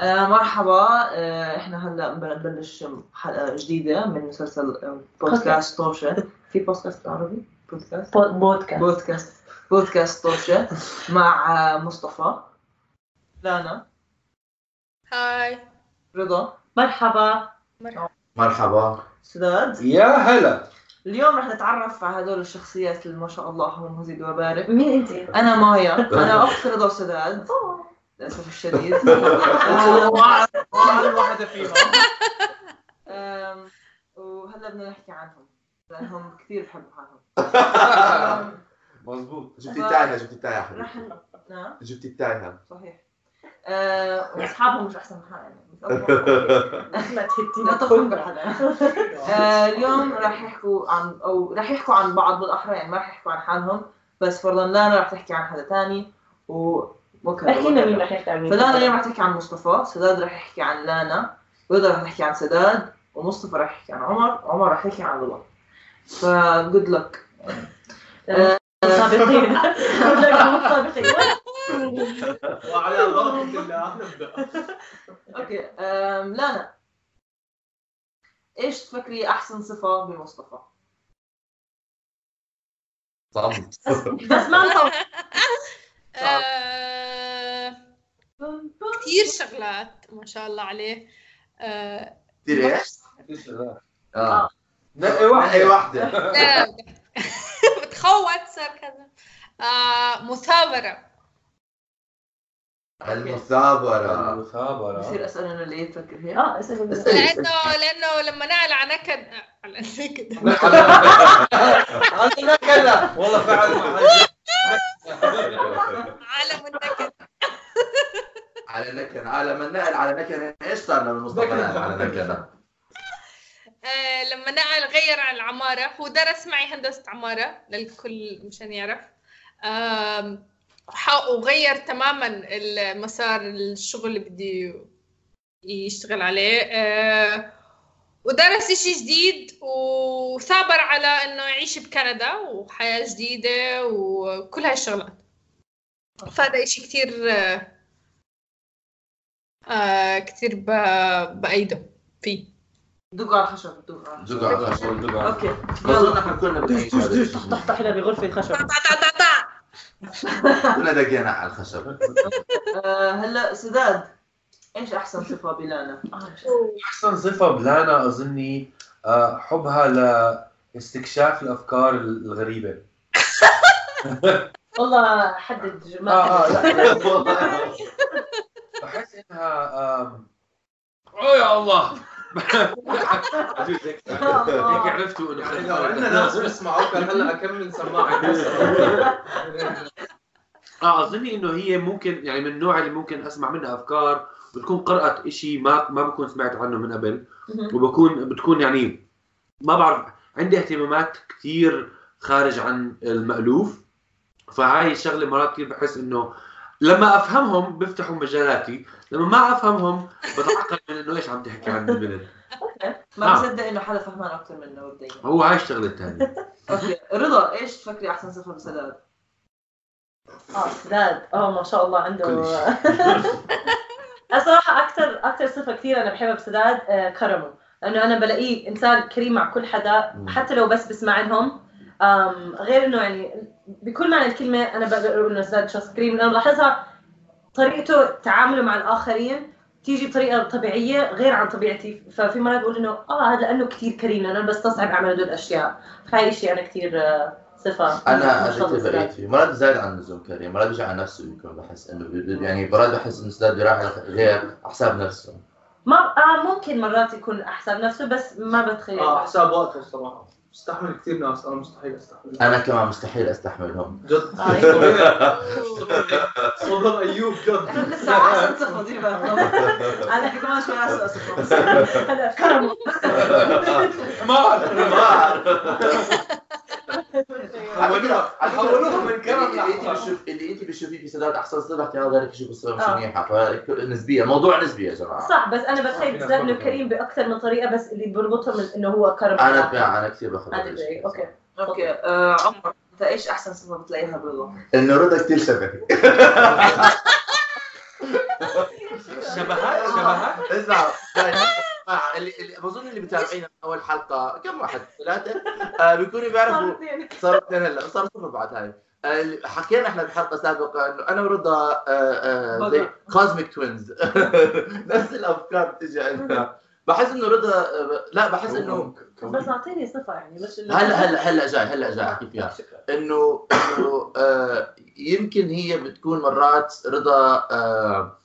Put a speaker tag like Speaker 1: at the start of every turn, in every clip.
Speaker 1: آه مرحبا آه احنا هلا بدنا نبلش حلقه جديده من مسلسل آه، بودكاست طوشه في بودكاست عربي بودكاست
Speaker 2: بو- بودكاست
Speaker 1: بودكاست بودكاست طوشه مع آه، مصطفى لانا
Speaker 3: هاي
Speaker 1: رضا
Speaker 2: مرحبا
Speaker 3: مرحبا
Speaker 4: مرحبا
Speaker 1: سداد
Speaker 4: يا هلا
Speaker 1: اليوم رح نتعرف على هدول الشخصيات اللي ما شاء الله اللهم وزيد وبارك
Speaker 2: مين انت؟
Speaker 1: انا مايا انا اخت رضا وسداد للاسف الشديد وأعرف- وأعرف واحده فيهم أم، وهلا بدنا نحكي عنهم لانهم كثير بحب حالهم أم،
Speaker 4: مظبوط جبت التايهه جبت التايهه
Speaker 1: رح
Speaker 4: حبيبي
Speaker 1: ن- نعم
Speaker 4: جبت التايهه
Speaker 1: صحيح أه، واصحابهم مش احسن من حالنا يعني مش أفضل.
Speaker 2: ما
Speaker 1: لا
Speaker 2: تهدينا
Speaker 1: تفهم بالحلقه أه، اليوم رح يحكوا عن او رح يحكوا عن بعض بالاحرى يعني ما رح يحكوا عن حالهم بس فرضا لانا رح تحكي عن حدا ثاني و وكذا
Speaker 2: احكي لنا
Speaker 1: وكذا.
Speaker 2: مين رح يحكي عن مين
Speaker 1: فلانا اليوم رح تحكي عن مصطفى، سداد رح يحكي عن لانا، رضا رح يحكي عن سداد، ومصطفى رح يحكي عن عمر، وعمر رح يحكي عن رضا. فجود لك.
Speaker 2: متطابقين كلنا متطابقين
Speaker 5: وعلى بركة الله نبدأ
Speaker 1: اوكي أم، لانا. ايش تفكري احسن صفة بمصطفى؟
Speaker 4: صمت
Speaker 2: بس ما نطول
Speaker 3: آه كثير شغلات ما شاء الله عليه آه
Speaker 4: كثير إيه؟ ايش؟
Speaker 1: آه.
Speaker 4: اه نقي واحده اي واحده
Speaker 3: لا، بتخوت صار كذا آه مثابرة
Speaker 4: المثابره
Speaker 1: بصير
Speaker 5: مثابرة
Speaker 1: اسال انا ليه تفكر هي؟
Speaker 2: اه اسأل
Speaker 1: اسأل.
Speaker 3: لأنه لأنه لما نعلى على نكد على نكد
Speaker 4: انا كذا
Speaker 5: والله فعلا ما
Speaker 3: عالم النكد
Speaker 4: على نكن على من نقل على نكن ايش صار لما مصطفى نقل على نكن
Speaker 3: آه لما نقل غير على العمارة هو درس معي هندسة عمارة للكل مشان يعرف آم، ح- وغير تماما المسار الشغل اللي بدي يشتغل عليه آه، ودرس اشي جديد وثابر على انه يعيش بكندا وحياة جديدة وكل هاي الشغلات فهذا اشي كتير آه، آه، كتير ب- بأيده فيه
Speaker 1: دق على الخشب دق على الخشب.
Speaker 4: دقع خشب.
Speaker 5: آه.
Speaker 1: اوكي
Speaker 4: بظن
Speaker 1: يلا
Speaker 4: احنا كلنا بنعيش
Speaker 2: دوش دوش
Speaker 4: هذا
Speaker 2: طح
Speaker 4: الشيء.
Speaker 2: طح طح هنا بغرفة خشب
Speaker 3: طع- طع- طع- طع.
Speaker 4: كلنا دقينا على الخشب
Speaker 1: أه، هلا سداد ايش احسن صفة بلانا؟
Speaker 3: Oh.
Speaker 5: أحسن صفة بلانا أظني آه، حبها لاستكشاف الأفكار الغريبة
Speaker 2: والله حدد جماعة
Speaker 5: آه آه لا بحس إنها آم، أوه يا الله عجوز هيك
Speaker 2: آه،
Speaker 5: هيك عرفتوا إنه
Speaker 6: يعني لو عندنا ناس بيسمعوك هلا اكمل سماعه بس
Speaker 5: اه اظني انه هي ممكن يعني من النوع اللي ممكن اسمع منها افكار بتكون قرات إشي ما ما بكون سمعت عنه من قبل
Speaker 2: مهم.
Speaker 5: وبكون بتكون يعني ما بعرف عندي اهتمامات كثير خارج عن المالوف فهاي الشغله مرات كثير بحس انه لما افهمهم بيفتحوا مجالاتي لما ما افهمهم بتعقل من انه ايش عم تحكي عن البنت
Speaker 1: ما
Speaker 5: آه.
Speaker 1: بصدق انه حدا فهمان اكثر منه مبدئيا
Speaker 5: هو هاي الشغله الثانيه
Speaker 1: اوكي رضا ايش تفكري احسن صفه بسداد؟
Speaker 2: اه سداد اه ما شاء الله عنده
Speaker 5: كل
Speaker 2: أنا صراحة أكثر أكثر صفة كثير أنا بحبها بسداد آه، كرمه، لأنه أنا بلاقيه إنسان كريم مع كل حدا
Speaker 4: مم.
Speaker 2: حتى لو بس بسمع لهم آم، غير إنه يعني بكل معنى الكلمة أنا بقدر أقول إنه سداد شخص كريم لأنه بلاحظها طريقته تعامله مع الآخرين تيجي بطريقة طبيعية غير عن طبيعتي، ففي مرات بقول إنه آه هذا لأنه كثير كريم لأنه أنا بستصعب أعمل هدول الأشياء، فهي شيء أنا كثير آه، صفة
Speaker 4: انا
Speaker 2: ما شاء الله
Speaker 4: اجيت
Speaker 2: سداد.
Speaker 4: بعيد فيه مرات زاد عن اللزوم كريم مرات بيجي على نفسه بيكون بحس انه بي- يعني مرات بحس انه سداد بيراعي غير على حساب نفسه
Speaker 2: ما آه ممكن مرات يكون أحسب نفسه بس ما بتخيل آه،
Speaker 6: اه حساب وقته الصراحه بستحمل كثير ناس انا مستحيل استحمل
Speaker 4: انا كمان مستحيل استحملهم
Speaker 6: جد
Speaker 2: آه، إيه.
Speaker 6: صغير. صغير ايوب جد
Speaker 1: لسه احسن صفه دي بقى انا كمان شوي احسن صفه
Speaker 2: هذا كرمه
Speaker 6: حمار حولوه من كرم
Speaker 4: اللي انت
Speaker 6: لأحمر.
Speaker 4: بتشوف اللي انت بتشوفيه بسداد احسن صفه كان غيرك يشوف الصفه مش
Speaker 2: آه.
Speaker 4: منيحه فنسبيه الموضوع نسبي يا جماعه
Speaker 2: صح بس انا بتخيل
Speaker 5: آه،
Speaker 2: بزاد انه كريم باكثر من طريقه بس اللي بربطهم من انه هو كرم
Speaker 4: انا فعلا- انا كثير باخذ
Speaker 2: انا
Speaker 4: هذا
Speaker 2: بري
Speaker 4: الشيء.
Speaker 2: اوكي
Speaker 1: اوكي آه، عمر انت ايش احسن صفه بتلاقيها برضا؟
Speaker 4: انه رضا كثير شبهي
Speaker 5: شبهات شبهات
Speaker 4: اسمع يعني اسمع، اللي اللي- بظن اللي متابعينا من اول حلقه كم واحد ثلاثه آه بيكونوا بيعرفوا صار اثنين هلا صار صفر بعد هاي آه، اللي- حكينا احنا بحلقه سابقه انه انا ورضا آه، آه، زي كوزميك توينز نفس الافكار بتجي عندنا بحس انه رضا آه، لا بحس انه
Speaker 2: بس اعطيني صفه يعني مش إنه-
Speaker 4: هلا هلا هلا جاي هلا جاي احكي فيها انه انه آه، يمكن هي بتكون مرات رضا آه،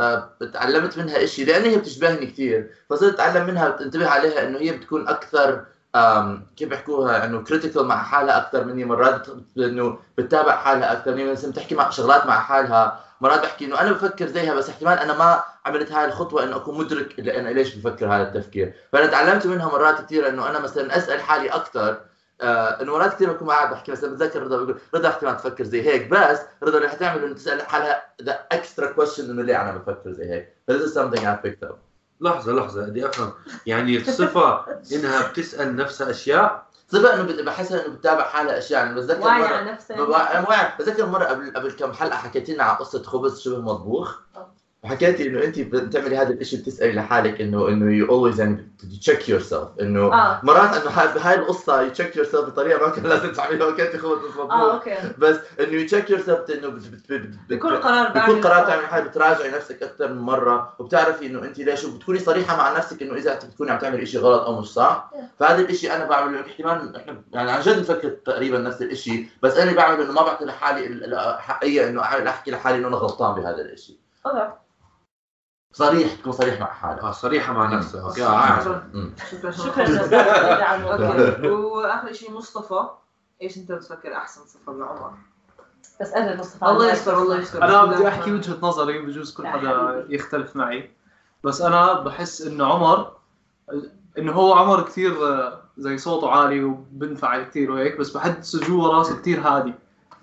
Speaker 4: آه، تعلمت منها إشي لان هي بتشبهني كثير فصرت اتعلم منها بتنتبه عليها انه هي بتكون اكثر آم، كيف بيحكوها انه كريتيكال مع حالها اكثر مني مرات بت- انه بتتابع حالها اكثر مني مثلا بتحكي مع شغلات مع حالها مرات بحكي انه انا بفكر زيها بس احتمال انا ما عملت هاي الخطوه انه اكون مدرك إلا انا ليش بفكر هذا التفكير فانا تعلمت منها مرات كثير انه انا مثلا اسال حالي اكثر آه انه مرات كثير بكون قاعد بحكي مثلا بتذكر رضا بقول رضا احتمال تفكر زي هيك بس رضا اللي حتعمله انه تسال حالها ذا اكسترا كويشن انه ليه انا بفكر زي هيك This is something I picked up
Speaker 5: لحظه لحظه بدي افهم يعني الصفه انها بتسال نفسها اشياء
Speaker 4: صدق انه بت- بحسها انه بتتابع حالها اشياء يعني بتذكر
Speaker 2: واعي
Speaker 4: مره
Speaker 2: على نفسك
Speaker 4: ببقى- أنا واعي. بتذكر مره قبل قبل كم حلقه حكيت لنا على قصه خبز شبه مطبوخ وحكيتي انه انت بتعملي هذا الشيء بتسالي لحالك انه انه يو اولويز يعني تشيك يور سيلف انه
Speaker 2: اه
Speaker 4: مرات انه هاي هاي القصه يو تشيك يور سيلف بطريقه ما كان لازم تعمليها وكانت خبز مش مطبوخ
Speaker 2: اه اوكي
Speaker 4: بس انه يو تشيك يور سيلف انه بت- بت- بت-
Speaker 2: بكل قرار
Speaker 4: بتكون
Speaker 2: بعمله.
Speaker 4: قررت تعمل حاجه بتراجعي نفسك اكثر من مره وبتعرفي انه انت ليش وبتكوني صريحه مع نفسك انه اذا أنت بتكوني عم تعملي شيء غلط او مش صح فهذا الشيء انا بعمله احتمال احنا يعني عن جد نفكر تقريبا نفس الشيء بس انا بعمل انه ما بعطي لحالي ال- الحقيه انه أعمل- احكي لحالي انه انا غلطان بهذا الشيء
Speaker 2: طبعا
Speaker 4: صريح تكون صريح مع حالك
Speaker 5: آه صريحه مع نفسها اوكي آه، عارف.
Speaker 1: شكرا
Speaker 2: شكرا لك
Speaker 1: اوكي واخر شيء مصطفى ايش انت بتفكر احسن صفه بعمر؟
Speaker 2: بس انا
Speaker 6: طيب،
Speaker 2: مصطفى
Speaker 1: الله يستر الله يستر
Speaker 6: انا بدي احكي وجهه نظري بجوز كل حدا يختلف معي بس انا بحس انه عمر انه هو عمر كثير آه، زي صوته عالي وبنفع كثير وهيك بس بحس جوا راسه كثير هادي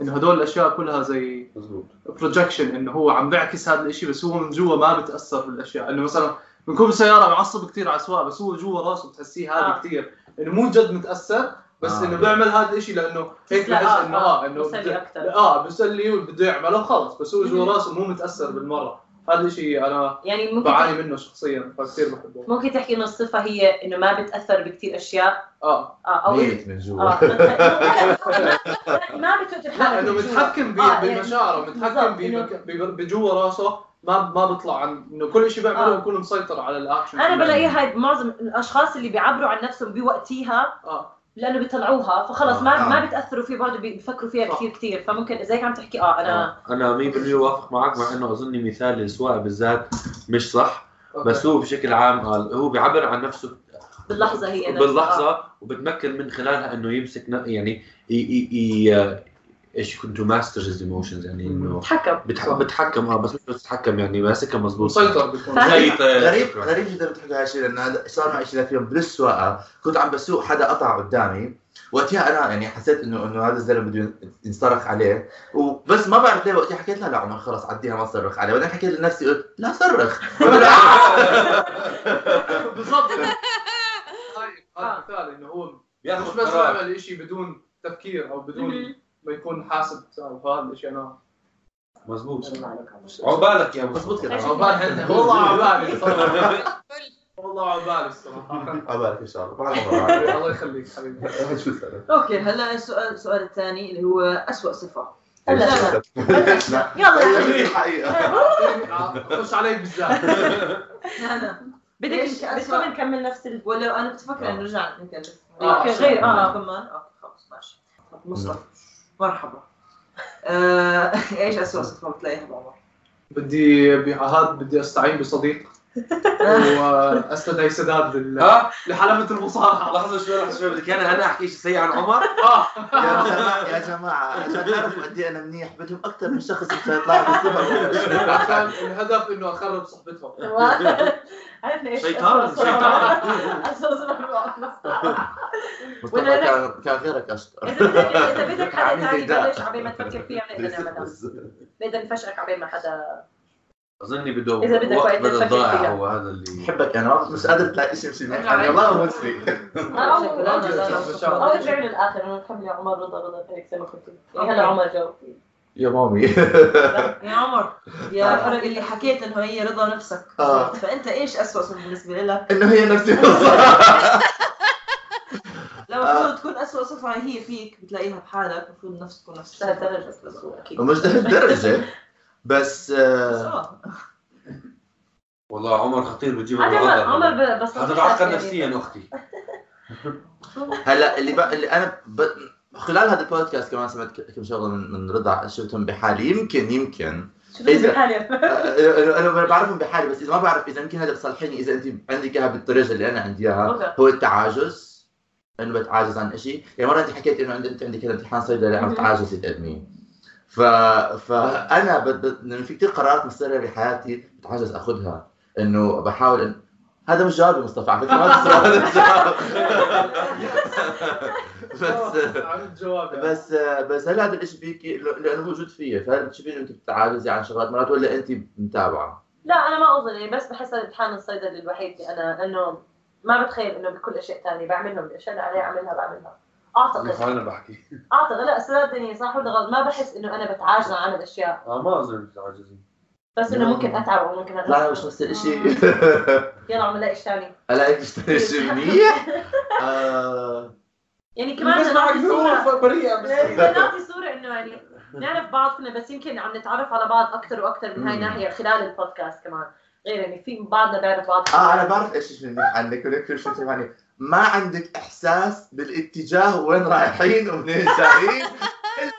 Speaker 6: انه هدول الاشياء كلها زي
Speaker 5: مزبوط
Speaker 6: بروجكشن انه هو عم بيعكس هذا الشيء بس هو من جوا ما بتاثر بالاشياء انه مثلا بنكون بالسياره معصب كثير على السواق بس هو جوا راسه بتحسيه هادي
Speaker 2: آه.
Speaker 6: كثير انه مو جد متاثر بس
Speaker 4: آه.
Speaker 6: انه بيعمل هذا الشيء لانه هيك
Speaker 2: لا،
Speaker 6: بحس
Speaker 2: آه،
Speaker 6: انه اه
Speaker 2: آه،
Speaker 6: انه
Speaker 2: مسلي
Speaker 6: بده-
Speaker 2: أكتر.
Speaker 6: اه بيسلي وبده يعمله خلص بس هو جوا راسه مو متاثر بالمره هذا الشيء انا
Speaker 2: يعني ممكن
Speaker 6: بعاني منه شخصيا فكثير بحبه
Speaker 2: ممكن تحكي انه الصفه هي انه ما بتاثر بكثير اشياء
Speaker 6: اه
Speaker 2: اه او
Speaker 4: ميت من جوا
Speaker 2: اه ما- ما بتقتل
Speaker 6: لا
Speaker 2: حالك
Speaker 6: انه
Speaker 2: من جوا.
Speaker 6: متحكم
Speaker 2: آه،
Speaker 6: ب-
Speaker 2: يعني
Speaker 6: بمشاعره متحكم
Speaker 2: بالضبط، إنه-
Speaker 6: ب- ب- بجوا راسه ما ما بيطلع عن انه كل شيء بيعمله
Speaker 2: آه.
Speaker 6: بكون مسيطر على الاكشن
Speaker 2: انا
Speaker 6: تبعه.
Speaker 2: بلاقيها هاي معظم الاشخاص اللي بيعبروا عن نفسهم بوقتيها
Speaker 6: اه
Speaker 2: لانه بيطلعوها فخلص ما
Speaker 4: آه.
Speaker 2: ما بتاثروا فيه برضه بيفكروا فيها
Speaker 6: صح.
Speaker 2: كثير كثير فممكن زيك عم تحكي اه انا
Speaker 5: آه. انا 100% وافق معك مع انه اظني مثال السواقه بالذات مش صح
Speaker 6: أوكي.
Speaker 5: بس هو بشكل عام قال هو بيعبر عن نفسه
Speaker 2: باللحظه هي أنا- آه.
Speaker 5: باللحظه وبتمكن من خلالها انه يمسك ن- يعني ي- ي- ي- ايش كنتوا ماستر هيز ايموشنز يعني انه
Speaker 2: تحكم
Speaker 5: بتح- بتحكم اه بس مش بس تتحكم يعني ماسكها مظبوط
Speaker 2: طيب.
Speaker 6: مسيطر بيكون
Speaker 2: صح.
Speaker 4: غريب غريب جدا بتحكي هالشيء لان هذا صار معي شيء ذاك اليوم بالسواقه كنت عم بسوق حدا قطع قدامي وقتها انا يعني حسيت انه انه هذا الزلمه بده ينصرخ عليه وبس ما بعرف ليه وقتها حكيت لها لا عمر خلص عديها ما تصرخ عليه بعدين حكيت لنفسي قلت لا صرخ
Speaker 6: بالضبط طيب هذا
Speaker 2: آه.
Speaker 6: مثال انه هو
Speaker 5: بياخد
Speaker 6: مش بس
Speaker 5: قرار.
Speaker 6: يعمل شيء بدون تفكير او بدون
Speaker 2: مهم.
Speaker 6: ما يكون حاسب او هذا الشيء انا
Speaker 5: مظبوط عقبالك يا
Speaker 4: مظبوط كده
Speaker 2: إيش؟
Speaker 6: عبالي عندنا والله عبالي صراحه
Speaker 3: فل.
Speaker 6: والله عبالي الصراحه
Speaker 4: عبالك ان شاء الله
Speaker 6: الله يخليك حبيبي
Speaker 1: اوكي هلا السؤال السؤال الثاني اللي هو اسوء صفه
Speaker 2: هلا هلا. يلا
Speaker 4: طيب.
Speaker 2: يا حبيبي.
Speaker 4: الحقيقه
Speaker 6: خش علي بالذات
Speaker 1: انا
Speaker 2: بدك
Speaker 1: إيش أسوأ؟
Speaker 2: بدكم نكمل نفس ال...
Speaker 1: ولا انا بتفكر انه رجعت نكلف
Speaker 6: آه،
Speaker 2: اوكي غير اه
Speaker 1: كمان اوكي خلص ماشي طب مصطفى مرحبا آه، ايش اسوء صفه بتلاقيها بعمر؟
Speaker 6: بدي بهذا بدي استعين بصديق واستدعي سداد لل-
Speaker 5: ها
Speaker 6: لحلبة المصارعه
Speaker 5: لحظه شوي لحظه شوي بدك انا انا احكي شيء سيء عن عمر
Speaker 6: آه.
Speaker 4: يا جماعه يا جماعه عشان تعرفوا قد ايه انا منيح بدهم اكثر من شخص مشان يطلعوا بالصفه
Speaker 6: عشان الهدف انه اخرب صحبتهم
Speaker 2: عرفنا ايش
Speaker 5: شيطان،
Speaker 2: أسوأ صورة
Speaker 5: شيطان.
Speaker 2: أسوأ صورة بعمر.
Speaker 4: مصطفى
Speaker 2: ولا لا.
Speaker 4: كان كان غيرك اشطر
Speaker 2: اذا بدك اذا بدك حدا
Speaker 4: عميل
Speaker 2: ثاني
Speaker 4: داء.
Speaker 2: يبلش عبين ما تفكر فيها بنقدر نعملها بنقدر نفشقك عبين ما حدا
Speaker 5: اظني بده
Speaker 2: إذا بدك
Speaker 5: وقت
Speaker 2: وقت
Speaker 5: بدل
Speaker 2: تفكر
Speaker 5: ضائع
Speaker 2: فيها.
Speaker 5: هو هذا اللي
Speaker 4: بحبك انا مش قادر تلاقي شيء مشي معك يعني والله بموت فيك
Speaker 2: أو-
Speaker 1: لا، لا، لا، لا،
Speaker 2: او ارجع للاخر انا بحب يا عمر رضا رضا هيك زي ما كنت يعني هلا عمر جاوب
Speaker 4: يا مامي
Speaker 1: يا عمر يا فرق اللي حكيت انه هي رضا نفسك
Speaker 4: آه.
Speaker 1: فانت ايش اسوء صفه بالنسبه لك؟
Speaker 4: انه هي نفس القصه
Speaker 1: لو
Speaker 4: آه.
Speaker 1: المفروض تكون اسوء صفه هي فيك بتلاقيها بحالك المفروض نفس تكون نفس الصفة.
Speaker 2: لهالدرجة بس هو أكيد.
Speaker 4: مش لهالدرجه بس
Speaker 1: بس
Speaker 4: آه،
Speaker 1: آه.
Speaker 5: والله عمر خطير بتجيب
Speaker 2: عمر عمر ب- بس يعني
Speaker 5: هتتعكر نفسيا اختي
Speaker 4: هلا اللي بقى اللي انا ب... خلال هذا البودكاست كمان سمعت ك- كم شغله من, من رضا شفتهم بحالي يمكن يمكن
Speaker 2: شو يعني؟ بتقول
Speaker 4: إذا-
Speaker 2: حاليا؟
Speaker 4: انا أنا بعرفهم بحالي بس اذا ما بعرف اذا يمكن هذا بصلحيني اذا انت عندك اياها بالطريقه اللي انا عندي اياها
Speaker 2: أوكي.
Speaker 4: هو التعاجز انه بتعاجز عن شيء يعني مره انت حكيت انه عند- انت عندك هذا امتحان صيدله عم
Speaker 2: مهم.
Speaker 4: تعاجزي تقدميه ف فانا ب... ب... لانه في كثير قرارات مصيره بحياتي بتعجز اخذها انه بحاول إن... هذا مش جوابي مصطفى على فكره ما بس- هذا مش جواب بس
Speaker 6: عملت جواب يعني.
Speaker 4: بس بس هل هذا الشيء فيك لانه موجود فيه فهل بتشوفين انت بتعاجزي عن يعني شغلات مرات ولا انت متابعه؟
Speaker 2: لا انا ما اظن يعني بس بحس الامتحان الصيدلي الوحيد اللي انا انه ما بتخيل انه بكل اشياء ثانيه بعملهم الاشياء اللي علي اعملها بعملها اعتقد
Speaker 5: انا بحكي
Speaker 2: اعتقد لا صدقني صح ولا غلط ما بحس انه انا بتعاجز عن الاشياء
Speaker 5: اه ما اظن بتعجزين
Speaker 2: بس انه ممكن اتعب او ممكن
Speaker 4: لا
Speaker 2: أغلط.
Speaker 4: مش نفس الشيء
Speaker 2: يلا عم نلاقي ثاني
Speaker 4: هلا هيك بتشتري شيء منيح آه،
Speaker 2: يعني كمان
Speaker 1: بس
Speaker 2: بدنا نعطي صورة- إيه.
Speaker 1: بريئه
Speaker 2: بدنا نعطي صورة انه يعني نعرف بعض كنا بس يمكن عم نتعرف على بعض اكثر واكثر من هاي
Speaker 4: مم.
Speaker 2: الناحية خلال البودكاست كمان غير يعني في بعضنا بيعرف بعض
Speaker 4: اه انا بعرف ايش الشيء منيح عنك ولكن كل شيء يعني ما عندك احساس بالاتجاه وين رايحين ومنين جايين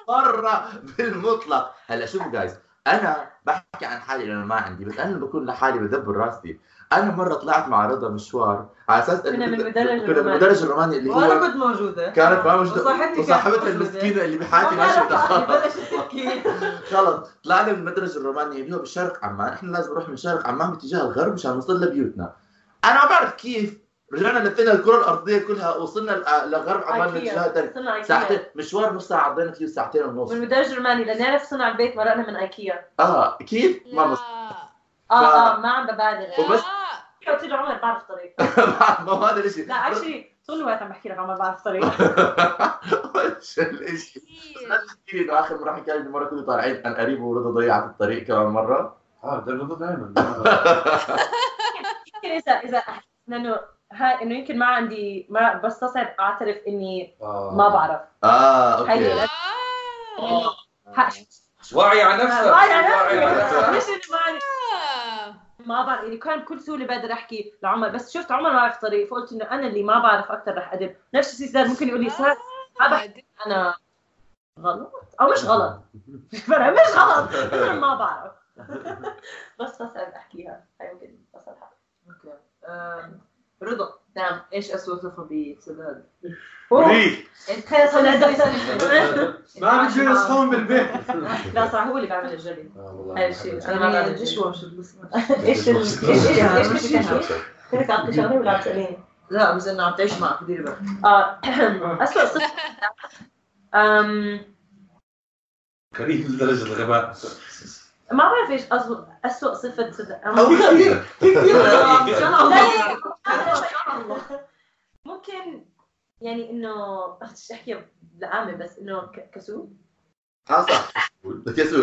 Speaker 4: مره بالمطلق هلا شوفوا جايز انا بحكي عن حالي لانه ما عندي بس انا لما بكون لحالي بدبر راسي انا مره طلعت مع رضا مشوار على اساس إنه
Speaker 2: كنا من
Speaker 4: كنت-
Speaker 2: المدرج
Speaker 4: كنا من
Speaker 2: الروماني.
Speaker 4: المدرج الروماني اللي
Speaker 1: وانا
Speaker 4: هو
Speaker 1: كنت موجوده
Speaker 4: كانت ما موجوده
Speaker 1: وصاحبتي كانت
Speaker 4: وصاحبتها
Speaker 1: موجودة.
Speaker 4: المسكينه اللي بحياتي ما
Speaker 1: بعرف
Speaker 4: شفتها
Speaker 1: بلشت تحكي
Speaker 4: غلط طلعنا من المدرج الروماني اللي هو بشرق عمان احنا لازم نروح من شرق عمان باتجاه الغرب مشان نوصل لبيوتنا انا ما بعرف كيف رجعنا لفينا الكره الارضيه كلها وصلنا ل- آه، لغرب عمان من اتجاه درب.
Speaker 2: صنع ايكيا
Speaker 4: ساعتين مشوار نص ساعه قضينا فيه ساعتين ونص
Speaker 2: من المدرج الروماني لنعرف صنع البيت مرقنا من ايكيا
Speaker 4: اه كيف ما بص
Speaker 3: لا
Speaker 2: اه اه ما عم ببالغ
Speaker 4: وبس-
Speaker 3: لا.
Speaker 2: قلت له عمر بعرف طريق
Speaker 4: ما هو هذا الشيء
Speaker 2: لا اكشلي طول الوقت عم بحكي لك عمر بعرف طريق
Speaker 4: وش الشيء كثير انه اخر مره حكى لي مره كنا طالعين عن قريب ورضا ضيعت الطريق كمان مره
Speaker 5: اه ده الرضا دائما
Speaker 2: يمكن اذا اذا أحس انه هاي انه يمكن ما عندي ما بستصعب اعترف اني ما بعرف
Speaker 4: اه اوكي
Speaker 2: حقيقة.
Speaker 3: آه.
Speaker 2: إنه حق-
Speaker 5: واعي على نفسك
Speaker 2: واعي على
Speaker 5: واعي على
Speaker 2: نفسي مش
Speaker 5: نفسك.
Speaker 2: انه ما عندي ما بعرف يعني كان بكل سهوله بقدر احكي لعمر بس شفت عمر ما بعرف طريق فقلت انه انا اللي ما بعرف اكثر رح اقدم نفس الشيء زاد ممكن يقول لي صار ما بحكي انا غلط او مش غلط في فرق مش غلط بس أنا ما بعرف بس بس احكيها هاي يمكن بس أضحك.
Speaker 1: أوكي. آم، رضا
Speaker 2: نعم
Speaker 1: ايش اسوء صفه بسداد؟
Speaker 5: ريح
Speaker 1: انت
Speaker 2: تخيل صرنا دكتور
Speaker 6: ما بقدر يصحون بالبيت
Speaker 2: لا صح هو اللي بعمل الجري هاي الشيء انا
Speaker 1: انا
Speaker 2: ما
Speaker 1: ما
Speaker 2: بعمل
Speaker 1: بعرف
Speaker 2: الجري.
Speaker 1: ايش هو شو بس-
Speaker 2: ايش ال- ايش ال- ايش بتحكي؟ كنت عم تحكي شغله ولا عم تساليني؟
Speaker 1: لا بس انه عم تعيش مع كثير بقى
Speaker 2: اه اسوء صفه أم،
Speaker 5: كريم لدرجه الغباء
Speaker 2: ما بعرف ايش أسوأ- اسوء صفه صدق
Speaker 4: او كثير
Speaker 1: إن شاء الله.
Speaker 2: لا، يعني- ممكن يعني انه أخ، بدي احكي لعامة بس انه ك- كسول
Speaker 4: اه صح بدك اسوي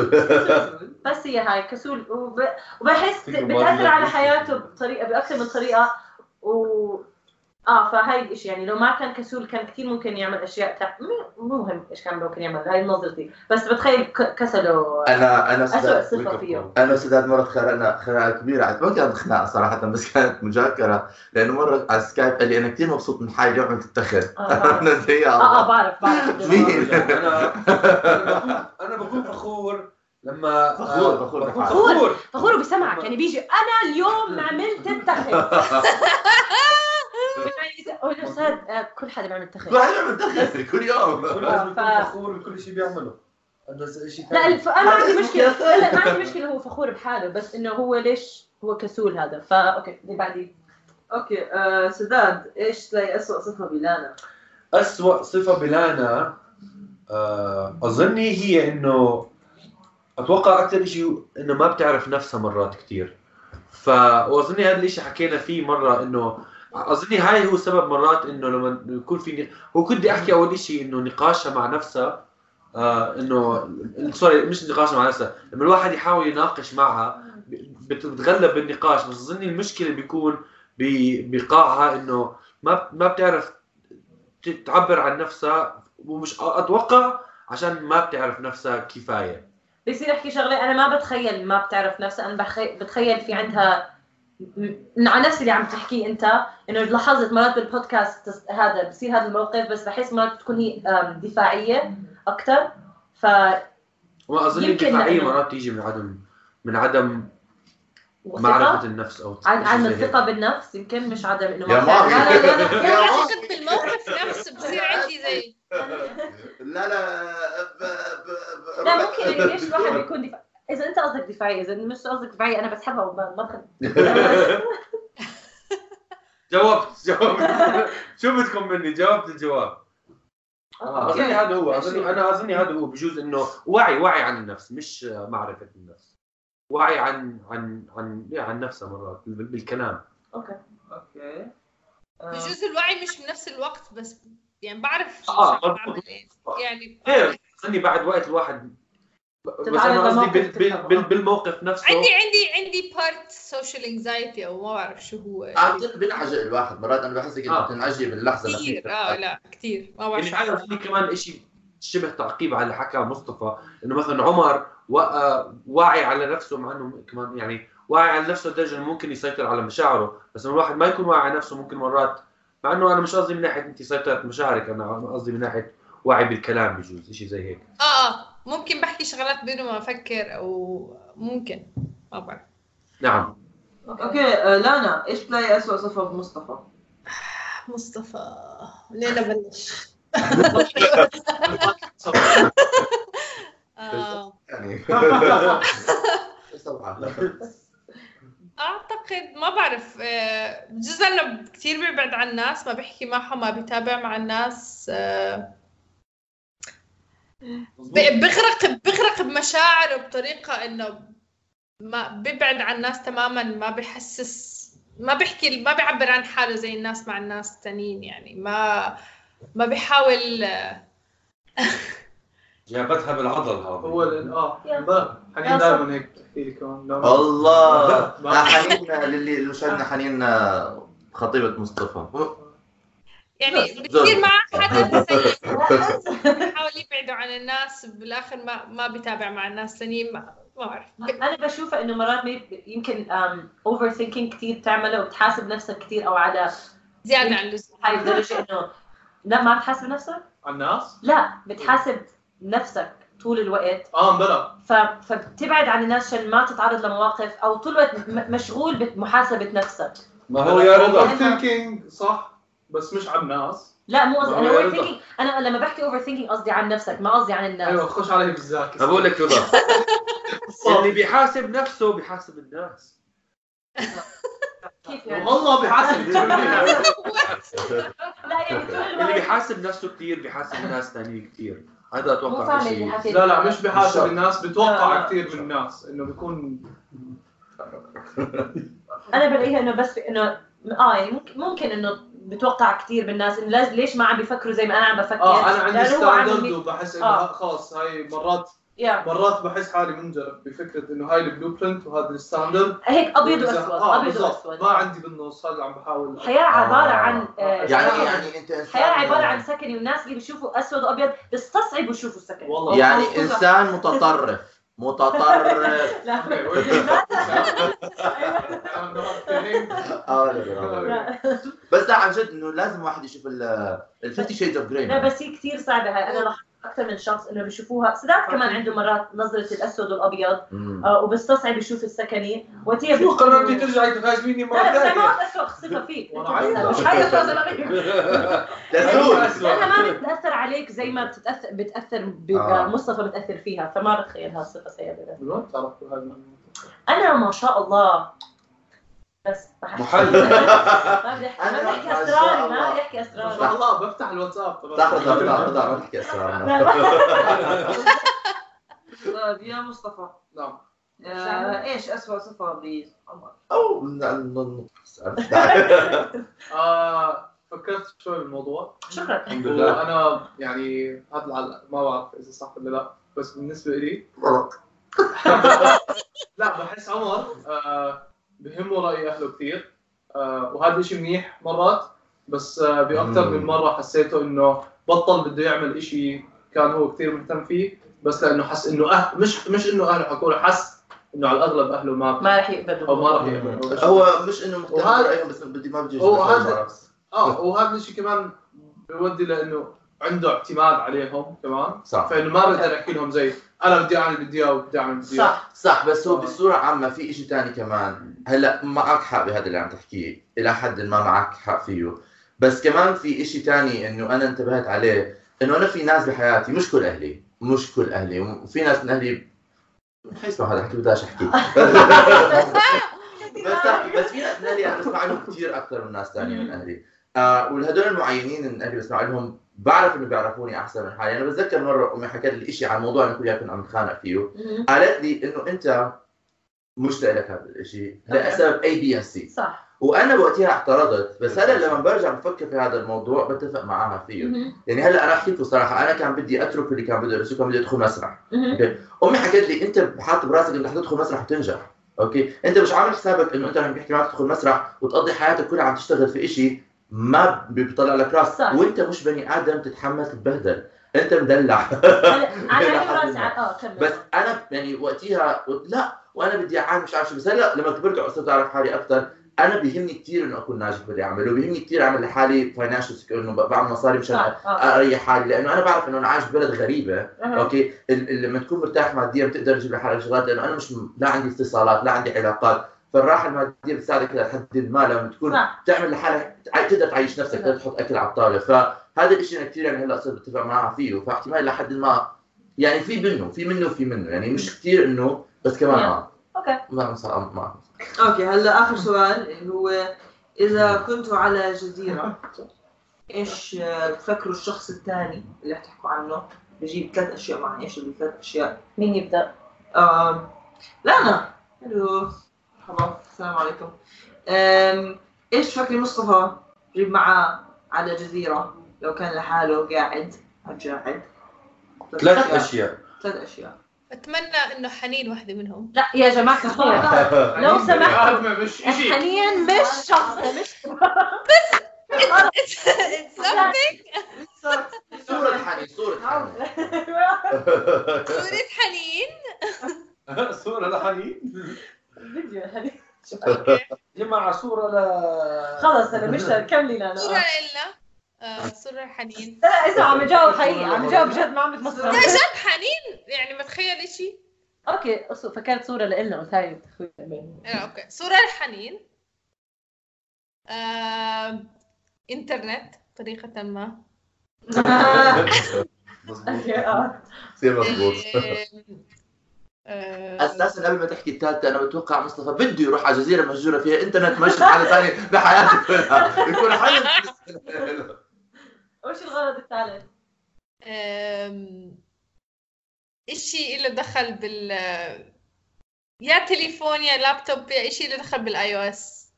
Speaker 2: بس هي هاي كسول وب... وبحس
Speaker 5: فيه
Speaker 2: بتاثر على
Speaker 5: مبالغة.
Speaker 2: حياته بطريقه باكثر من طريقه و اه فهاي الاشي يعني لو ما كان كسول كان كثير ممكن يعمل اشياء تا... مو- مو مهم ايش كان ممكن يعمل هاي نظرتي بس بتخيل ك- كسله
Speaker 4: انا انا
Speaker 2: اسوء
Speaker 4: استاذ
Speaker 2: صفه فيه
Speaker 4: انا وسداد مره تخانقنا خناقه كبيره عاد ما كانت خناقه صراحه بس كانت مذاكره لانه مره على السكايب قال لي انا كثير مبسوط من حالي اليوم عملت التخت
Speaker 2: اه بعرف.
Speaker 4: انا زي يا
Speaker 2: اه آه،
Speaker 4: الله
Speaker 2: بعرف بعرف
Speaker 4: مين؟
Speaker 5: انا انا بكون فخور لما
Speaker 4: فخور، آه، فخور
Speaker 5: بكون
Speaker 4: بحالك.
Speaker 5: فخور
Speaker 2: فخور بسمعك يعني بيجي انا اليوم عملت التخت يعني هو الاستاذ آه، كل حدا بيعمل تخت
Speaker 4: ما حدا عمل تخت كل يوم
Speaker 5: بكون
Speaker 2: آه،
Speaker 5: لازم يكون
Speaker 2: ف-
Speaker 5: فخور بكل شيء بيعمله هذا شيء
Speaker 2: لا
Speaker 5: ثاني
Speaker 2: الف... انا ما عندي
Speaker 4: هذا
Speaker 2: مشكله
Speaker 4: اسمه
Speaker 2: لا ما عندي مشكله هو فخور بحاله بس انه هو ليش هو كسول هذا فا اوكي اللي بعدي
Speaker 1: اوكي آه، سداد ايش تلاقي اسوء صفه بلانا؟
Speaker 5: أسوأ صفة بلانا آه، أظني هي إنه أتوقع أكثر شيء إنه ما بتعرف نفسها مرات كثير فأظني هذا الشيء حكينا فيه مرة إنه أظني هاي هو سبب مرات إنه لما يكون في هو كنت بدي أحكي أول شيء إنه نقاشها مع نفسها آه انه سوري مش نقاش مع نفسها لما الواحد يحاول يناقش معها بت- بتغلب بالنقاش بس اظني المشكله بيكون ب- بقاعها انه ما بت- ما بتعرف ت- تعبر عن نفسها ومش أ- اتوقع عشان ما بتعرف نفسها كفايه
Speaker 2: بيصير يحكي شغله انا ما بتخيل ما بتعرف نفسها انا بخي... بتخيل في عندها م- م- على نفس اللي عم تحكيه انت انه لاحظت مرات بالبودكاست تس- هذا بصير هذا الموقف بس بحس مرات تكون هي آم، دفاعيه اكثر ف
Speaker 5: وما اظن
Speaker 2: يمكن
Speaker 5: الدفاعيه
Speaker 2: لأنه-
Speaker 5: مرات بتيجي من عدم من عدم
Speaker 2: وثقة
Speaker 5: معرفه النفس او
Speaker 2: عن عن
Speaker 5: شيء زي هيك.
Speaker 2: الثقه بالنفس يمكن مش عدم انه
Speaker 4: يا
Speaker 2: بتعرف. لا لا لا
Speaker 4: ماهي.
Speaker 3: يعني اعتقد بالموقف نفسه بصير عندي زي
Speaker 4: لا لا ب- ب- ب-
Speaker 2: لا ممكن يعني ليش الواحد
Speaker 4: بدون.
Speaker 2: بيكون دفاع اذا انت قصدك دفاعيه اذا مش قصدك دفاعيه انا بسحبها وما ما بخ-
Speaker 5: جاوبت جاوبت شو بدكم مني جاوبت الجواب
Speaker 2: آه.
Speaker 5: اظني هذا هو اظني انا اظني هذا هو بجوز انه وعي وعي عن النفس مش معرفه النفس وعي عن عن عن إيه، عن نفسها مرات بال- بالكلام
Speaker 1: اوكي آه،
Speaker 3: بجوز الوعي مش بنفس الوقت بس يعني بعرف شو
Speaker 5: آه،
Speaker 3: عم بعمل ايه يعني
Speaker 5: غير اظني بعد وقت الواحد بس
Speaker 2: تتعرض
Speaker 5: انا قصدي بال-
Speaker 2: لموقف
Speaker 5: بال- بال-
Speaker 2: تتعرض.
Speaker 5: بالموقف نفسه
Speaker 3: عندي عندي عندي بارت سوشيال انكزايتي او ما بعرف شو هو
Speaker 4: اعتقد بينعجق الواحد مرات انا بحس انك
Speaker 5: آه.
Speaker 4: بتنعجي باللحظه
Speaker 3: كثير
Speaker 2: آه.
Speaker 3: اه لا كثير ما بعرف
Speaker 5: يعني
Speaker 3: شو
Speaker 5: هذا
Speaker 3: عم
Speaker 5: في كمان شيء شبه تعقيب على اللي حكاه مصطفى انه مثلا عمر وقى- واعي على نفسه مع انه كمان يعني واعي على نفسه لدرجه انه ممكن يسيطر على مشاعره بس لما الواحد ما يكون واعي على نفسه ممكن مرات مع انه انا مش قصدي من ناحيه انت سيطرت مشاعرك انا قصدي من ناحيه واعي بالكلام بجوز شيء زي هيك
Speaker 3: اه اه ممكن بحكي شغلات بدون ما افكر او ممكن ما بعرف
Speaker 5: نعم
Speaker 1: اوكي آه، لانا ايش بتلاقي اسوء صفه بمصطفى؟
Speaker 3: مصطفى لينا بلش آه.
Speaker 4: يعني
Speaker 1: طيب،
Speaker 3: اعتقد ما بعرف آه، بجوز انه كثير بيبعد عن الناس ما بيحكي معهم ما بيتابع مع الناس آه، ب- بغرق بغرق بمشاعره بطريقه انه ما بيبعد عن الناس تماما ما بحسس ما بيحكي ما بيعبر عن حاله زي الناس مع الناس التانيين يعني ما ما بيحاول
Speaker 5: جابتها بالعضل هذا
Speaker 6: هو ال- اه
Speaker 2: يا.
Speaker 6: بقى.
Speaker 2: يا
Speaker 6: حنين دائما هيك بتحكي لي كمان لا،
Speaker 4: آه.
Speaker 6: ما-
Speaker 4: الله
Speaker 6: ما-
Speaker 4: حنين للي المشاهدين حنين آه، خطيبة مصطفى
Speaker 3: يعني
Speaker 4: بس
Speaker 3: بتصير
Speaker 4: زوج.
Speaker 3: مع حدا سيء بيحاول يبعدوا عن الناس بالاخر ما ما بيتابع مع الناس الثانيين ما ما بعرف
Speaker 2: انا طيب، بشوف انه مرات بي- يمكن اوفر ثينكينج كثير تعمله وبتحاسب نفسك كثير او على
Speaker 3: زياده عن اللزوم
Speaker 2: هاي الدرجه انه لا ما بتحاسب نفسك
Speaker 6: على الناس
Speaker 2: لا بتحاسب نفسك طول الوقت
Speaker 6: اه بلا
Speaker 2: ف... فبتبعد عن الناس عشان ما تتعرض لمواقف او طول الوقت م- مشغول بمحاسبه نفسك
Speaker 5: ما هو يا رضا
Speaker 6: ثينكينج صح بس مش على الناس
Speaker 2: لا مو قصدي
Speaker 5: ما هو
Speaker 2: انا
Speaker 5: يا
Speaker 2: اوفر
Speaker 5: رضا.
Speaker 2: ثينكينج انا لما بحكي اوفر ثينكينج قصدي عن نفسك ما قصدي عن
Speaker 6: ايوه
Speaker 2: الناس
Speaker 6: خش عليه بالذاكره
Speaker 5: أنا بقول لك رضا اللي بيحاسب نفسه بيحاسب الناس
Speaker 2: كيف يعني؟
Speaker 6: والله بحسب
Speaker 2: لا يعني طول
Speaker 5: اللي
Speaker 2: الوقت
Speaker 5: بيحاسب نفسه كثير بيحاسب الناس ثانيين كثير هذا
Speaker 2: مو
Speaker 5: اتوقع
Speaker 2: فاهم
Speaker 5: شيء
Speaker 2: اللي حكيت
Speaker 6: لا لا مش بحاسب
Speaker 4: بالشرط.
Speaker 6: الناس
Speaker 1: لا،
Speaker 6: بتوقع
Speaker 1: لا.
Speaker 6: كثير من الناس انه بيكون
Speaker 2: انا بلاقيها انه بس انه اه يعني ممكن ممكن انه بتوقع كثير بالناس انه لاز- ليش ما عم بيفكروا زي ما انا عم بفكر
Speaker 6: اه انا عندي
Speaker 2: لأنه هو عم
Speaker 6: ستاندرد
Speaker 2: بي-
Speaker 6: وبحس انه
Speaker 2: آه.
Speaker 6: ها- خلص هاي مرات
Speaker 2: يا
Speaker 6: مرات بحس حالي منجرف بفكره انه هاي البلو برنت وهذا الستاندرد
Speaker 2: هيك ابيض
Speaker 6: وإذا-
Speaker 2: واسود
Speaker 6: آه،
Speaker 2: ابيض
Speaker 6: بالضبط.
Speaker 2: واسود
Speaker 6: ما عندي بالنص هذا عم بحاول
Speaker 2: الحياه عباره
Speaker 4: آه.
Speaker 2: عن آه،
Speaker 4: يعني
Speaker 2: آه،
Speaker 4: يعني انت انسان
Speaker 2: الحياه عباره عن سكني والناس اللي بيشوفوا اسود وابيض بيستصعبوا يشوفوا السكني
Speaker 6: والله
Speaker 4: يعني انسان متطرف متطرف
Speaker 2: لا
Speaker 6: أوكي، وين؟ أنا مرات كثيرين.
Speaker 4: آه، لا، لا، لا.
Speaker 2: لا.
Speaker 4: بس لا عن جد انه لازم واحد يشوف الفتي شيد اوف جراي
Speaker 2: لا بس هي كثير صعبه هاي انا لاحظت اكثر من شخص انه بيشوفوها سداد كمان عنده مرات نظره الاسود والابيض آه، وبيستصعب يشوف السكني وقتها
Speaker 5: شو
Speaker 2: بتكون-
Speaker 5: قررتي ترجعي تهاجميني مرة
Speaker 2: لا لا بس انا
Speaker 5: ثانية؟
Speaker 2: ما بتاثر خصيفه فيك
Speaker 6: وأنا
Speaker 2: أنت
Speaker 6: عايزة.
Speaker 2: بتأثر. مش عايزه تأثر عليك. يعني
Speaker 4: تزول
Speaker 2: لانها ما بتاثر عليك زي ما بتتاثر بتاثر ب-
Speaker 4: آه.
Speaker 2: مصطفى بتاثر فيها فما بتخيلها صفه سيئه أبداً.
Speaker 6: من وين تعرفوا هاي المعلومة؟
Speaker 2: انا ما شاء الله بس ما حد-
Speaker 5: محلل.
Speaker 2: ما بدي أحكي- ما
Speaker 4: أنا
Speaker 2: بدي احكي
Speaker 4: ما شاء
Speaker 2: اسراري ما
Speaker 4: الله.
Speaker 2: بدي احكي
Speaker 6: ما
Speaker 2: اسراري
Speaker 6: شاء الله بفتح الواتساب تبع
Speaker 4: صح رضا رضا رضا ما تحكي اسرارنا
Speaker 2: لا، لا.
Speaker 1: طيب يا مصطفى
Speaker 6: نعم
Speaker 1: آه، ايش اسوء صفه بعمر؟
Speaker 4: او ن- ن- ن-
Speaker 6: آه، فكرت شوي بالموضوع
Speaker 2: شكرا
Speaker 5: الحمد لله
Speaker 6: وانا يعني هذا العلق ما بعرف اذا صح ولا لا بس بالنسبه لي لا بحس عمر آه بهمه راي اهله كثير آه وهذا شيء منيح مرات بس آه باكثر من
Speaker 5: مم.
Speaker 6: مره حسيته انه بطل بده يعمل شيء كان هو كثير مهتم فيه بس لانه حس انه أهل مش مش انه اهله حكوا له حس انه على الاغلب اهله ما
Speaker 2: ما راح
Speaker 6: او ما
Speaker 2: يقبلوا
Speaker 6: راح يعملوا
Speaker 4: هو مش انه مهتم
Speaker 6: وهذا-
Speaker 4: برايهم بس بدي ما بدي
Speaker 6: هو
Speaker 4: يجرب
Speaker 6: هذا-
Speaker 4: خلاص.
Speaker 6: اه وهذا الشيء كمان بيودي لانه عنده اعتماد عليهم كمان
Speaker 4: صح
Speaker 6: فانه ما بقدر احكي لهم زي انا بدي اعمل بدي اياه وبدي اعمل بدي اياه
Speaker 2: صح
Speaker 4: صح بس هو
Speaker 6: آه.
Speaker 4: بصورة عامة في اشي تاني كمان هلا معك حق بهذا اللي عم تحكيه الى حد ما معك حق فيه بس كمان في اشي تاني انه انا انتبهت عليه انه انا في ناس بحياتي مش كل اهلي مش كل اهلي وفي ناس من اهلي حيسمع هذا حكي بداش احكي بس بس في ناس من اهلي انا بسمع لهم كثير اكثر من ناس ثانيه من اهلي آه والهدول المعينين من اهلي بسمع لهم بعرف انه بيعرفوني احسن من حالي انا بتذكر مره امي حكت لي شيء عن موضوع انا كل كنا عم نتخانق فيه
Speaker 2: مم.
Speaker 4: قالت لي انه انت مش لك هذا الشيء لسبب اي بي ان سي
Speaker 2: صح
Speaker 4: وانا وقتها اعترضت بس هلا لما برجع بفكر في هذا الموضوع بتفق معاها فيه
Speaker 2: مم.
Speaker 4: يعني هلا انا احكي لكم صراحه انا كان بدي اترك اللي كان بده يدرسه كان بدي ادخل مسرح
Speaker 2: مم.
Speaker 4: امي حكت لي انت حاط براسك انك رح تدخل مسرح وتنجح اوكي انت مش عامل حسابك انه انت لما بيحكي معك تدخل مسرح وتقضي حياتك كلها عم تشتغل في إشي ما بيطلع لك راس
Speaker 2: صح.
Speaker 4: وانت مش بني ادم تتحمل تتبهدل انت مدلع
Speaker 2: انا عيني وراسي على- اه كمل
Speaker 4: بس انا يعني وقتيها قلت لا وانا بدي اعاني مش عارف شو بس هلا لما كبرت وصرت اعرف حالي اكثر انا بيهمني كثير انه اكون ناجح باللي اعمله بيهمني كثير اعمل لحالي فاينانشال انه ب- بعمل مصاري مشان
Speaker 2: صح اه
Speaker 4: اريح حالي لانه انا بعرف انه انا عايش ببلد غريبه
Speaker 2: أها.
Speaker 4: اوكي ال- ال- لما تكون مرتاح ماديا بتقدر تجيب لحالك شغلات لانه انا مش م- لا عندي اتصالات لا عندي علاقات فالراحه الماديه بتساعدك لحد ما لما تكون
Speaker 2: صح
Speaker 4: تعمل لحالك تع- تقدر تعيش نفسك تقدر تحط اكل على الطاوله فهذا الشيء انا كثير يعني هلا صرت بتفق معها فيه فاحتمال لحد ما يعني في منه في منه في منه يعني مش كثير انه بس كمان اه
Speaker 2: اوكي
Speaker 4: ما صار ما
Speaker 1: اوكي هلا اخر سؤال اللي هو اذا كنتوا على جزيره ايش آه، بتفكروا الشخص الثاني اللي حتحكوا عنه بجيب ثلاث اشياء معه ايش اللي ثلاث اشياء
Speaker 2: مين يبدا؟
Speaker 1: آم، لانا الو مرحبا السلام عليكم آم، ايش فكري مصطفى جيب معاه على جزيره لو كان لحاله قاعد عالجاعد
Speaker 5: ثلاث اشياء
Speaker 1: ثلاث اشياء
Speaker 3: بتمنى انه حنين واحدة منهم
Speaker 2: لا يا جماعه الخير لو
Speaker 6: يعني
Speaker 2: سمحت.
Speaker 6: عارفة مش شيء
Speaker 2: حنين مش شخص مش
Speaker 3: صورة
Speaker 4: صورة حنين صورة حنين
Speaker 3: حنين
Speaker 5: صورة لحنين
Speaker 2: فيديو حنين
Speaker 5: جماعة صورة ل
Speaker 2: خلص انا مش كملي لانا
Speaker 3: صورة
Speaker 2: آه.
Speaker 3: لنا آه، صورة حنين
Speaker 2: لا اسمع عم جاوب حقيقي عم جاوب جد ما عم
Speaker 1: لا،
Speaker 2: بتمثل
Speaker 3: لا جد طيب، حنين يعني بتخيل اشي
Speaker 2: اوكي أصو- فكرت صوره لإلنا قلت هاي اخوي أمين.
Speaker 3: آه، اوكي صورة لحنين آه، انترنت بطريقة ما
Speaker 4: مظبوط
Speaker 2: اوكي
Speaker 5: آه.
Speaker 2: اه
Speaker 4: كثير مظبوط
Speaker 3: آم، آه،
Speaker 4: اساسا قبل ما تحكي الثالثه انا بتوقع مصطفى بده يروح على جزيره مهجوره فيها انترنت ماشي حاله ثانيه بحياته كلها يكون حلو
Speaker 2: وش الغرض الثالث؟
Speaker 3: أم، اشي اللي دخل بال يا تليفون يا لابتوب يا اشي اللي دخل بالاي او اس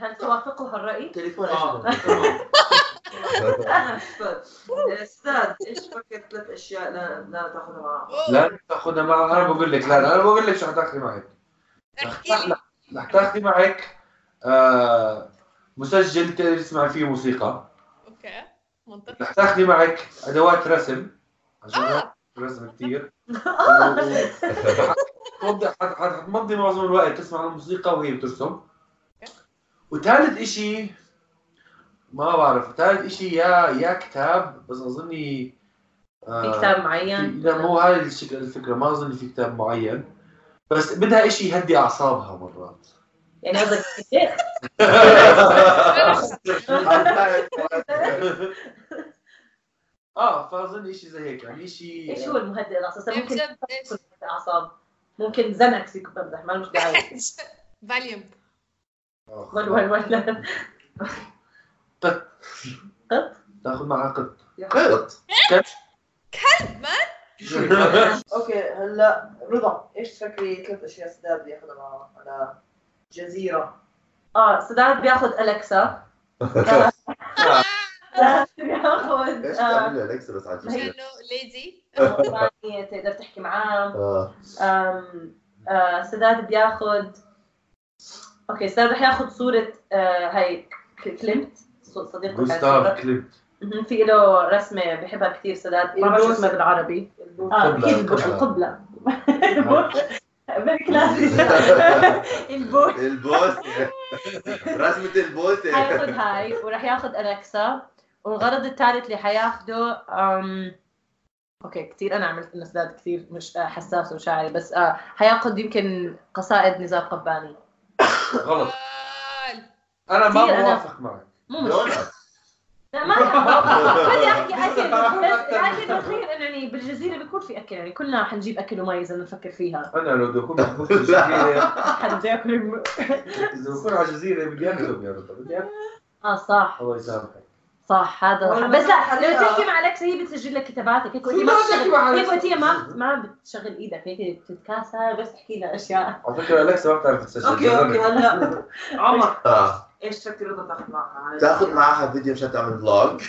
Speaker 2: هل توافقه الرأي؟
Speaker 4: تليفون
Speaker 6: آه.
Speaker 1: أنا أستاذ. استاذ ايش فكرت ثلاث اشياء لا لا تاخذها معك
Speaker 5: لا تاخذها معك انا بقول لك لا انا بقول لك شو حتاخذي معك رح
Speaker 3: احكي لي
Speaker 5: تاخ- رح تاخذي معك آه، مسجل تقدر تسمع فيه موسيقى
Speaker 3: اوكي منطقي
Speaker 5: رح تاخذي معك ادوات رسم عشان
Speaker 3: آه.
Speaker 5: آه. رسم كثير توضح حتمضي معظم الوقت تسمع الموسيقى وهي بترسم وثالث اشي ما بعرف ثالث اشي يا يا كتاب بس اظني
Speaker 2: في
Speaker 5: آه،
Speaker 2: كتاب معين؟
Speaker 5: لا مو هاي الشكل الفكره ما اظن في كتاب معين بس بدها اشي يهدي اعصابها مرات
Speaker 2: يعني قصدك كتاب؟
Speaker 5: اه فاظن اشي زي هيك يعني اشي
Speaker 2: ايش هو المهدئ الاعصاب؟
Speaker 3: يعني
Speaker 2: ممكن
Speaker 3: بجد ايش
Speaker 2: يكون مهدئ اعصاب ممكن زنك فيك بمزح ما لهمش داعي
Speaker 3: فاليوم
Speaker 5: آه،
Speaker 2: ول ول ول
Speaker 5: تاخذ معها قط
Speaker 4: قلط
Speaker 1: اوكي هلا رضا ايش تفكري ثلاث اشياء استاذ بياخذها معه على جزيره
Speaker 2: آه، اه سداد بياخذ الكسا تاخذ
Speaker 4: ايش
Speaker 2: آه.
Speaker 4: تعمل لي اليكسا بس على الجسم؟
Speaker 3: لانه ليزي
Speaker 2: أغنية تقدر تحكي معاه
Speaker 4: آه.
Speaker 2: أم، آه، سداد بياخذ اوكي سداد رح ياخذ صورة آه، هاي كل- كليمت صو- صديقه حياته.
Speaker 5: جوستاف كليب
Speaker 2: مهم، في له رسمة بحبها كثير سداد ما بعرف شو اسمها بالعربي اه
Speaker 4: قبلة،
Speaker 2: اكيد البو-
Speaker 4: قبلة.
Speaker 2: القبلة بالكلاسي البوت
Speaker 4: البوسة رسمة البوسة
Speaker 2: حياخد هاي وراح ياخد انكسا والغرض الثالث اللي حياخده أم... اوكي كثير انا عملت انه سداد كثير مش آه، حساس وشاعري بس آه حياخد يمكن قصائد نزار قباني
Speaker 5: غلط
Speaker 3: قال.
Speaker 5: انا ما
Speaker 2: كثير أنا-
Speaker 5: موافق معك
Speaker 2: مو مشكلة
Speaker 4: دونات
Speaker 2: لا ما أنا- بدي احكي اكل بس لكن بخير انه يعني بالجزيره بيكون في اكل يعني كلنا حنجيب اكل ومي اذا نفكر فيها
Speaker 5: انا لو بدي اكون محبوس في الجزيره
Speaker 2: حد بده ياكل الم-
Speaker 5: اذا بكون على الجزيره بدي اكتب يا رضا بدي اكتب
Speaker 2: اه صح
Speaker 5: الله يسامحك
Speaker 2: صح هذا
Speaker 1: والله
Speaker 2: بس لا
Speaker 1: حقيقة.
Speaker 2: لو تحكي مع الكس هي بتسجل لك كتاباتك هيك
Speaker 5: شو
Speaker 2: وقت ما
Speaker 5: بدي أحكي مع
Speaker 2: بتشتغل- هيك
Speaker 5: أليكسا؟
Speaker 2: وقت هي طيب، ما ما بتشغل ايدك هيك بتتكاسل بس تحكي لها اشياء
Speaker 5: على فكره الكسا ما بتعرف تسجل
Speaker 1: اوكي اوكي هلا عمر
Speaker 4: آه.
Speaker 1: ايش شكل رضا تاخذ معها؟
Speaker 4: تاخذ معاها فيديو مشان تعمل فلوج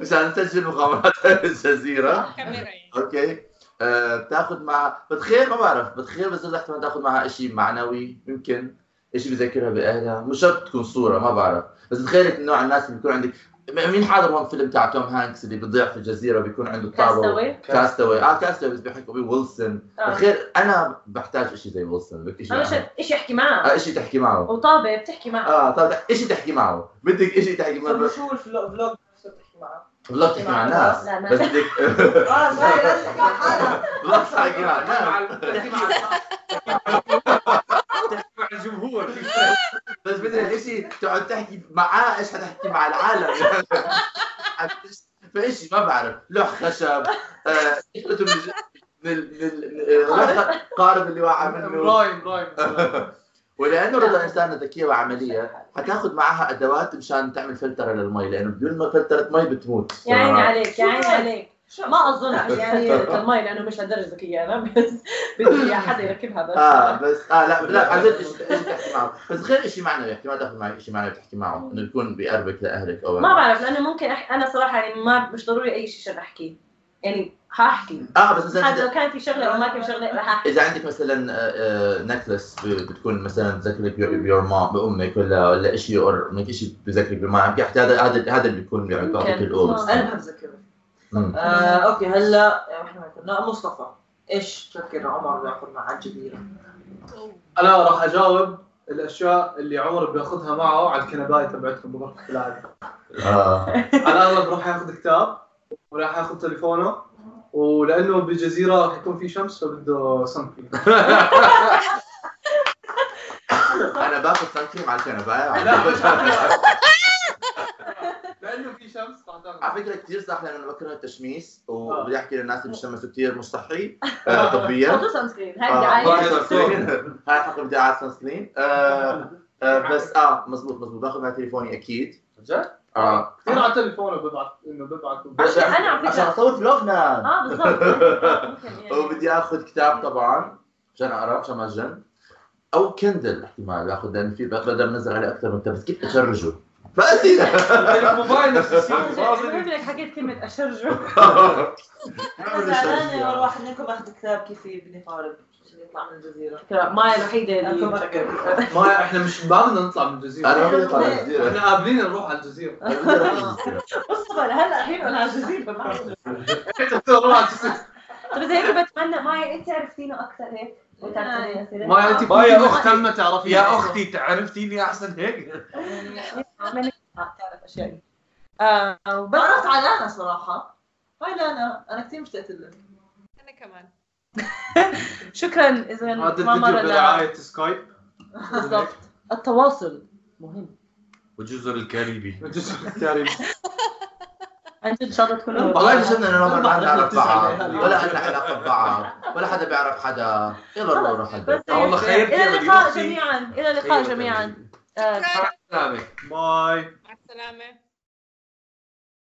Speaker 4: مشان نسجل مغامرات الجزيرة
Speaker 3: كاميرا يعني
Speaker 4: اوكي آه بتاخذ معها بتخيل ما بعرف بتخيل بس بدها احتمال تاخذ معها شيء معنوي يمكن شيء بذكرها باهلها مش شرط تكون صوره ما بعرف بس بتخيل إنه نوع الناس اللي بيكون عندك م- مين حاضر هون الفيلم تاع توم هانكس اللي بيضيع في الجزيره بيكون عنده طابه
Speaker 2: كاستوي
Speaker 4: كاستوي اه كاستوي بس بيحكوا بيه ويلسون
Speaker 2: آه.
Speaker 4: بتخيل انا بحتاج شيء زي ويلسون بدك شيء
Speaker 2: انا مش ايش احكي معها
Speaker 4: آه شيء تحكي معه
Speaker 2: وطابه بتحكي معها
Speaker 4: اه طب شيء تحكي معه بدك شيء تحكي
Speaker 1: طب
Speaker 4: معه
Speaker 1: شو الفلوج فلوج تحكي معها؟
Speaker 4: بالضبط تحكي مع الناس
Speaker 2: لا، ما-
Speaker 4: بس بدك
Speaker 1: اه لا لا تحكي مع حالها
Speaker 4: بالضبط تحكي مع الناس
Speaker 1: تحكي مع الناس.
Speaker 5: مع الجمهور
Speaker 4: بس بدها شيء تقعد تحكي معاه ايش حتحكي مع العالم فاشي ما بعرف لوح خشب آه، شفته من الج- من ال- من ال- آه، قارب اللي وقع منه
Speaker 6: رايم رايم
Speaker 4: ولانه رضا انسانه ذكيه وعمليه حتاخذ معها ادوات مشان تعمل فلتره للمي لانه بدون ما فلتره مي بتموت آه.
Speaker 2: يا عيني عليك يا عيني
Speaker 1: شو رأيك؟
Speaker 2: عليك ما اظن يعني المي لانه مش لهالدرجه ذكيه انا بس بدي حدا يركبها بس
Speaker 4: اه بس اه لا لا عن جد إيش- إيش تحكي معه بس غير شيء معنوي احتمال تاخذ معك شيء معنوي تحكي معه انه يكون بقربك لاهلك او
Speaker 2: ما بعرف لانه ممكن أح... انا صراحه يعني ما مش ضروري اي شيء شر احكيه يعني حاحكي
Speaker 4: اه بس مثلا
Speaker 2: حتى لو كان في شغله او ما كان في شغله رح احكي
Speaker 4: اذا عندك آه، مثلا نكلس بتكون مثلا بتذكرك بيور مام بامك ولا ولا شيء او انك شيء بذكرك بما عم تحكي هذا هذا هذا اللي بيكون بيعطيك
Speaker 2: ممكن.
Speaker 4: الاوبس
Speaker 2: آه.
Speaker 1: انا ما بتذكر آه، اوكي هلا احنا ما كنا مصطفى ايش تفكر عمر بياخذ مع على الجزيره؟
Speaker 6: انا راح اجاوب الاشياء اللي عمر بياخذها معه على الكنبايه تبعتهم بغرفه العاب
Speaker 4: اه
Speaker 6: على الاغلب راح ياخذ كتاب وراح ياخذ تليفونه ولانه بالجزيره راح يكون في شمس فبده صنفي
Speaker 4: انا باخذ سان كريم على الكنبه
Speaker 6: لا
Speaker 4: على
Speaker 6: مش عارف. لانه في شمس راح تاخذ
Speaker 4: فكره كثير صح لانه انا بكره التشميس
Speaker 6: آه.
Speaker 4: وبدي احكي للناس اللي بيشمسوا كثير مش صحي آه، طبيا
Speaker 2: حطوا سان سكرين هاي
Speaker 4: آه،
Speaker 2: دعايه
Speaker 4: باخذ sun screen. هاي حق دعاية سان سكرين بس اه مزبوط مزبوط باخذ مع تليفوني اكيد
Speaker 5: جد؟
Speaker 4: اه
Speaker 6: كثير على تليفونه ببعث انه ببعث
Speaker 4: عشان-
Speaker 2: أنا على فكرة-
Speaker 4: عشان اصور فلوجنا
Speaker 2: اه بالضبط ممكن يعني.
Speaker 4: وبدي اخذ كتاب طبعا عشان اقرا عشان ما اتجن او كندل احتمال باخذ لان في بقدر انزل عليه اكثر من كتاب بس كيف اشرجه؟ فأسئلة
Speaker 6: الموبايل نفس
Speaker 2: المهم
Speaker 6: الشيء
Speaker 2: انك حكيت كلمه اشرجه
Speaker 1: انا زعلانه والله واحد منكم اخذ كتاب كيف يبني هارب عشان يطلع من الجزيره
Speaker 2: ما الوحيده
Speaker 1: انكم
Speaker 2: اللي
Speaker 1: اكثر
Speaker 6: ما احنا مش بعدنا نطلع من الجزيره
Speaker 4: انا ما بدي اطلع على الجزيرة
Speaker 6: احنا قابلين نروح على الجزيره
Speaker 4: أنا بدي أروح على الجزيرة.
Speaker 2: مصطفى هلا الحين انا على الجزيره ما عندي.
Speaker 6: نروح على الجزيرة.
Speaker 2: طب اذا هيك بتمنى مايا انت عرفتينه اكثر هيك وتعرفيني أكثر هيك.
Speaker 6: ما انت
Speaker 5: ما يا
Speaker 6: كنت
Speaker 5: أختي.
Speaker 6: اختي ما تعرفين
Speaker 5: يا اختي تعرفتيني احسن هيك
Speaker 2: عملت تعرف اشياء آه وبس
Speaker 1: مرت على انا صراحه هاي لانا انا كثير مشتقت لك
Speaker 3: انا كمان
Speaker 2: شكرا اذا
Speaker 6: هذا
Speaker 2: ما
Speaker 6: الفيديو
Speaker 2: مر
Speaker 6: برعايه سكايب
Speaker 2: بالضبط التواصل مهم
Speaker 5: والجزر الكاريبي
Speaker 6: جزء التاريخ
Speaker 2: انت ان شاء الله تكونوا
Speaker 4: والله جسدنا انه ما
Speaker 6: أربع
Speaker 4: بنعرف
Speaker 6: رحلة
Speaker 4: بعض
Speaker 6: تسعة ليالي.
Speaker 4: ولا عندنا علاقه ببعض ولا حدا بيعرف حدا يلا نروح على البيت.
Speaker 5: آه، والله خير
Speaker 2: الى
Speaker 5: كلمة
Speaker 2: اللقاء
Speaker 5: يوفي.
Speaker 2: جميعا الى اللقاء جميعا آه،
Speaker 3: شكراً.
Speaker 5: سلامك
Speaker 6: باي
Speaker 3: طيب، مع السلامه